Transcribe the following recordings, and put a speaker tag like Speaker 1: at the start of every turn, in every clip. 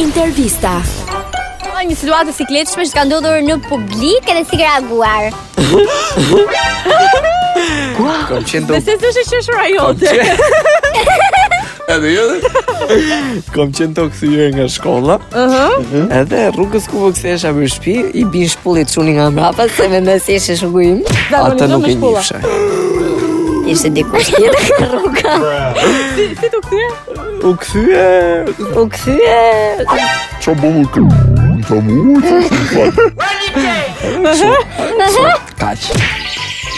Speaker 1: Intervista.
Speaker 2: Ka një situatë sikletshme që ka ndodhur në publik edhe si ka reaguar.
Speaker 3: Kam qenë do
Speaker 4: Se s'është qeshura
Speaker 3: po
Speaker 4: jote.
Speaker 3: Edhe jo. Kam qenë to kthyer nga shkolla. Mhm. Edhe rrugës ku po kthehesha për shtëpi, i bin shpullit çuni nga mbrapa se mendoj se ishe shoku im. Atë nuk e njihsha.
Speaker 2: Po, Ishte dikush tjetër në rrugë.
Speaker 4: Si tu kthye?
Speaker 3: U kthye.
Speaker 2: U kthye.
Speaker 3: Kaç.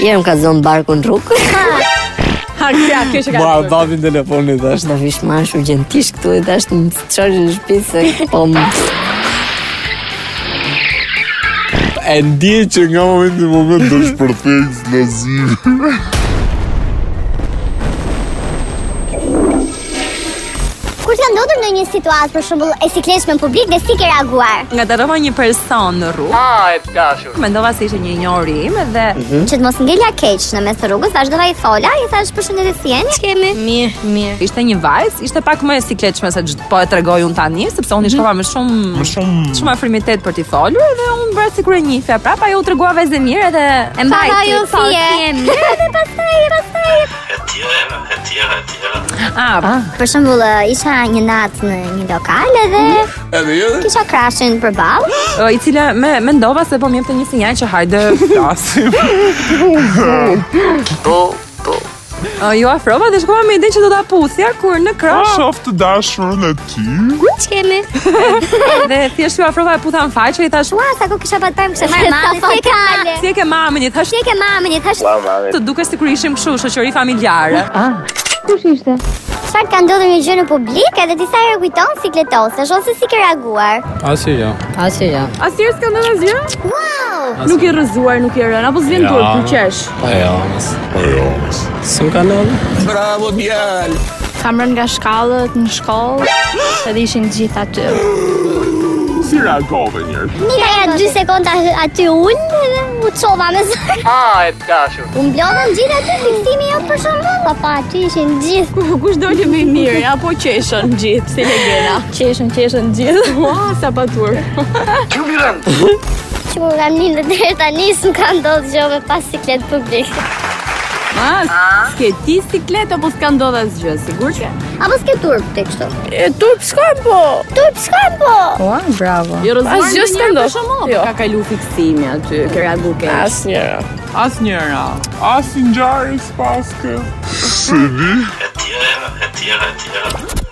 Speaker 2: Jam ka zonë barku në rrugë.
Speaker 4: Ha, kthya, kjo që ka.
Speaker 3: Mora babin telefonin tash.
Speaker 2: Na vish më ashtu gjentisht këtu e dash në çorë në shtëpi se po më
Speaker 3: E ndje që nga momenti në moment do të
Speaker 5: Kur t'ka ndodhur në një situatë për shembull e sikletshme në publik dhe si ke reaguar?
Speaker 4: Nga darova një person në rrugë. Ah, e dashur. Mendova se ishte një njëri im dhe
Speaker 5: Që të mos ngelja keq në mes të rrugës, vazhdova i fola, i thash përshëndetje si jeni? Ç'kemi?
Speaker 4: mirë, mirë. Ishte një vajzë, ishte pak më e sikletshme se që po e tregoj unë tani, sepse unë i shkova Mhm. me shumë më shumë shumë afrimitet për t'i folur dhe unë bëra sikur e njihja. Prapa ajo u tregua vajzën mirë edhe e mbajti.
Speaker 5: Tha ajo,
Speaker 4: "Po,
Speaker 5: "Si je?"
Speaker 4: mirë."
Speaker 5: Edhe pastaj, pastaj.
Speaker 4: Ah,
Speaker 5: Për shembull, eh, isha një natë në një lokal edhe
Speaker 3: Edhe jo.
Speaker 5: kisha krashin përballë.
Speaker 4: ë, i cila me mendova se po më jepte një sinjal që hajde flasim. Do, do. ju afrova dhe shkova me idenë që do ta puthja kur në krash
Speaker 6: Shof të dashurën e ty
Speaker 5: Ç'kemi?
Speaker 4: dhe thjesht ju afrova e putha në faqe i thash "Ua,
Speaker 5: Ua, sa ku kisha pat pajmë kështë marrë mami, si e ke mami?
Speaker 4: si e ke mamin i thash
Speaker 5: Si e ke mami, një thash,
Speaker 4: të duket sikur ishim kështu shoqëri familjare.
Speaker 5: çfarë ka ndodhur një gjë në publik edhe disa herë kujton sikletose, ose si ke reaguar?
Speaker 7: Asi jo.
Speaker 2: Asë ja.
Speaker 4: Asnjë s'ka ndonjë asgjë?
Speaker 5: Wow!
Speaker 4: Nuk i rrëzuar, nuk i rën, apo s'vjen
Speaker 7: Ja.
Speaker 4: ja. turp, ku qesh.
Speaker 7: Po jo. Po jo. Sëm ka ndodhur?
Speaker 3: Bravo djalë.
Speaker 8: Kam rënë nga shkallët në shkollë, edhe ishin gjithë aty.
Speaker 6: Si reagove njërë
Speaker 5: Mira ja 2 sekonda aty unë edhe u çova me zërin. Ah, e dashur. U mblodhën gjithë aty fiksimi jot për shembull, po pa aty ishin gjithë.
Speaker 4: Kush doli më mirë, apo qeshën gjithë, si legenda.
Speaker 8: Qeshën, qeshën gjithë.
Speaker 4: Ua, sa patur.
Speaker 5: Që kur kam lindë deri tani s'm ka ndodhur gjë me pasiklet publik.
Speaker 4: Mas, s'ke ti siklet apo s'ka ndodhur asgjë, sigurt që?
Speaker 5: Apo s'ke turp ti kështu?
Speaker 8: E turp shkon po.
Speaker 5: Turp s'kam po.
Speaker 8: Ua, bravo.
Speaker 4: Jo rrëzuar.
Speaker 8: Asgjë s'ka ndodhur.
Speaker 4: Jo,
Speaker 8: Jo.
Speaker 4: ka kalu fiksimi aty, ke reagu keq.
Speaker 8: Asnjëra.
Speaker 6: Asi njarë i spaske
Speaker 3: E tjera, e tjera, e tjera.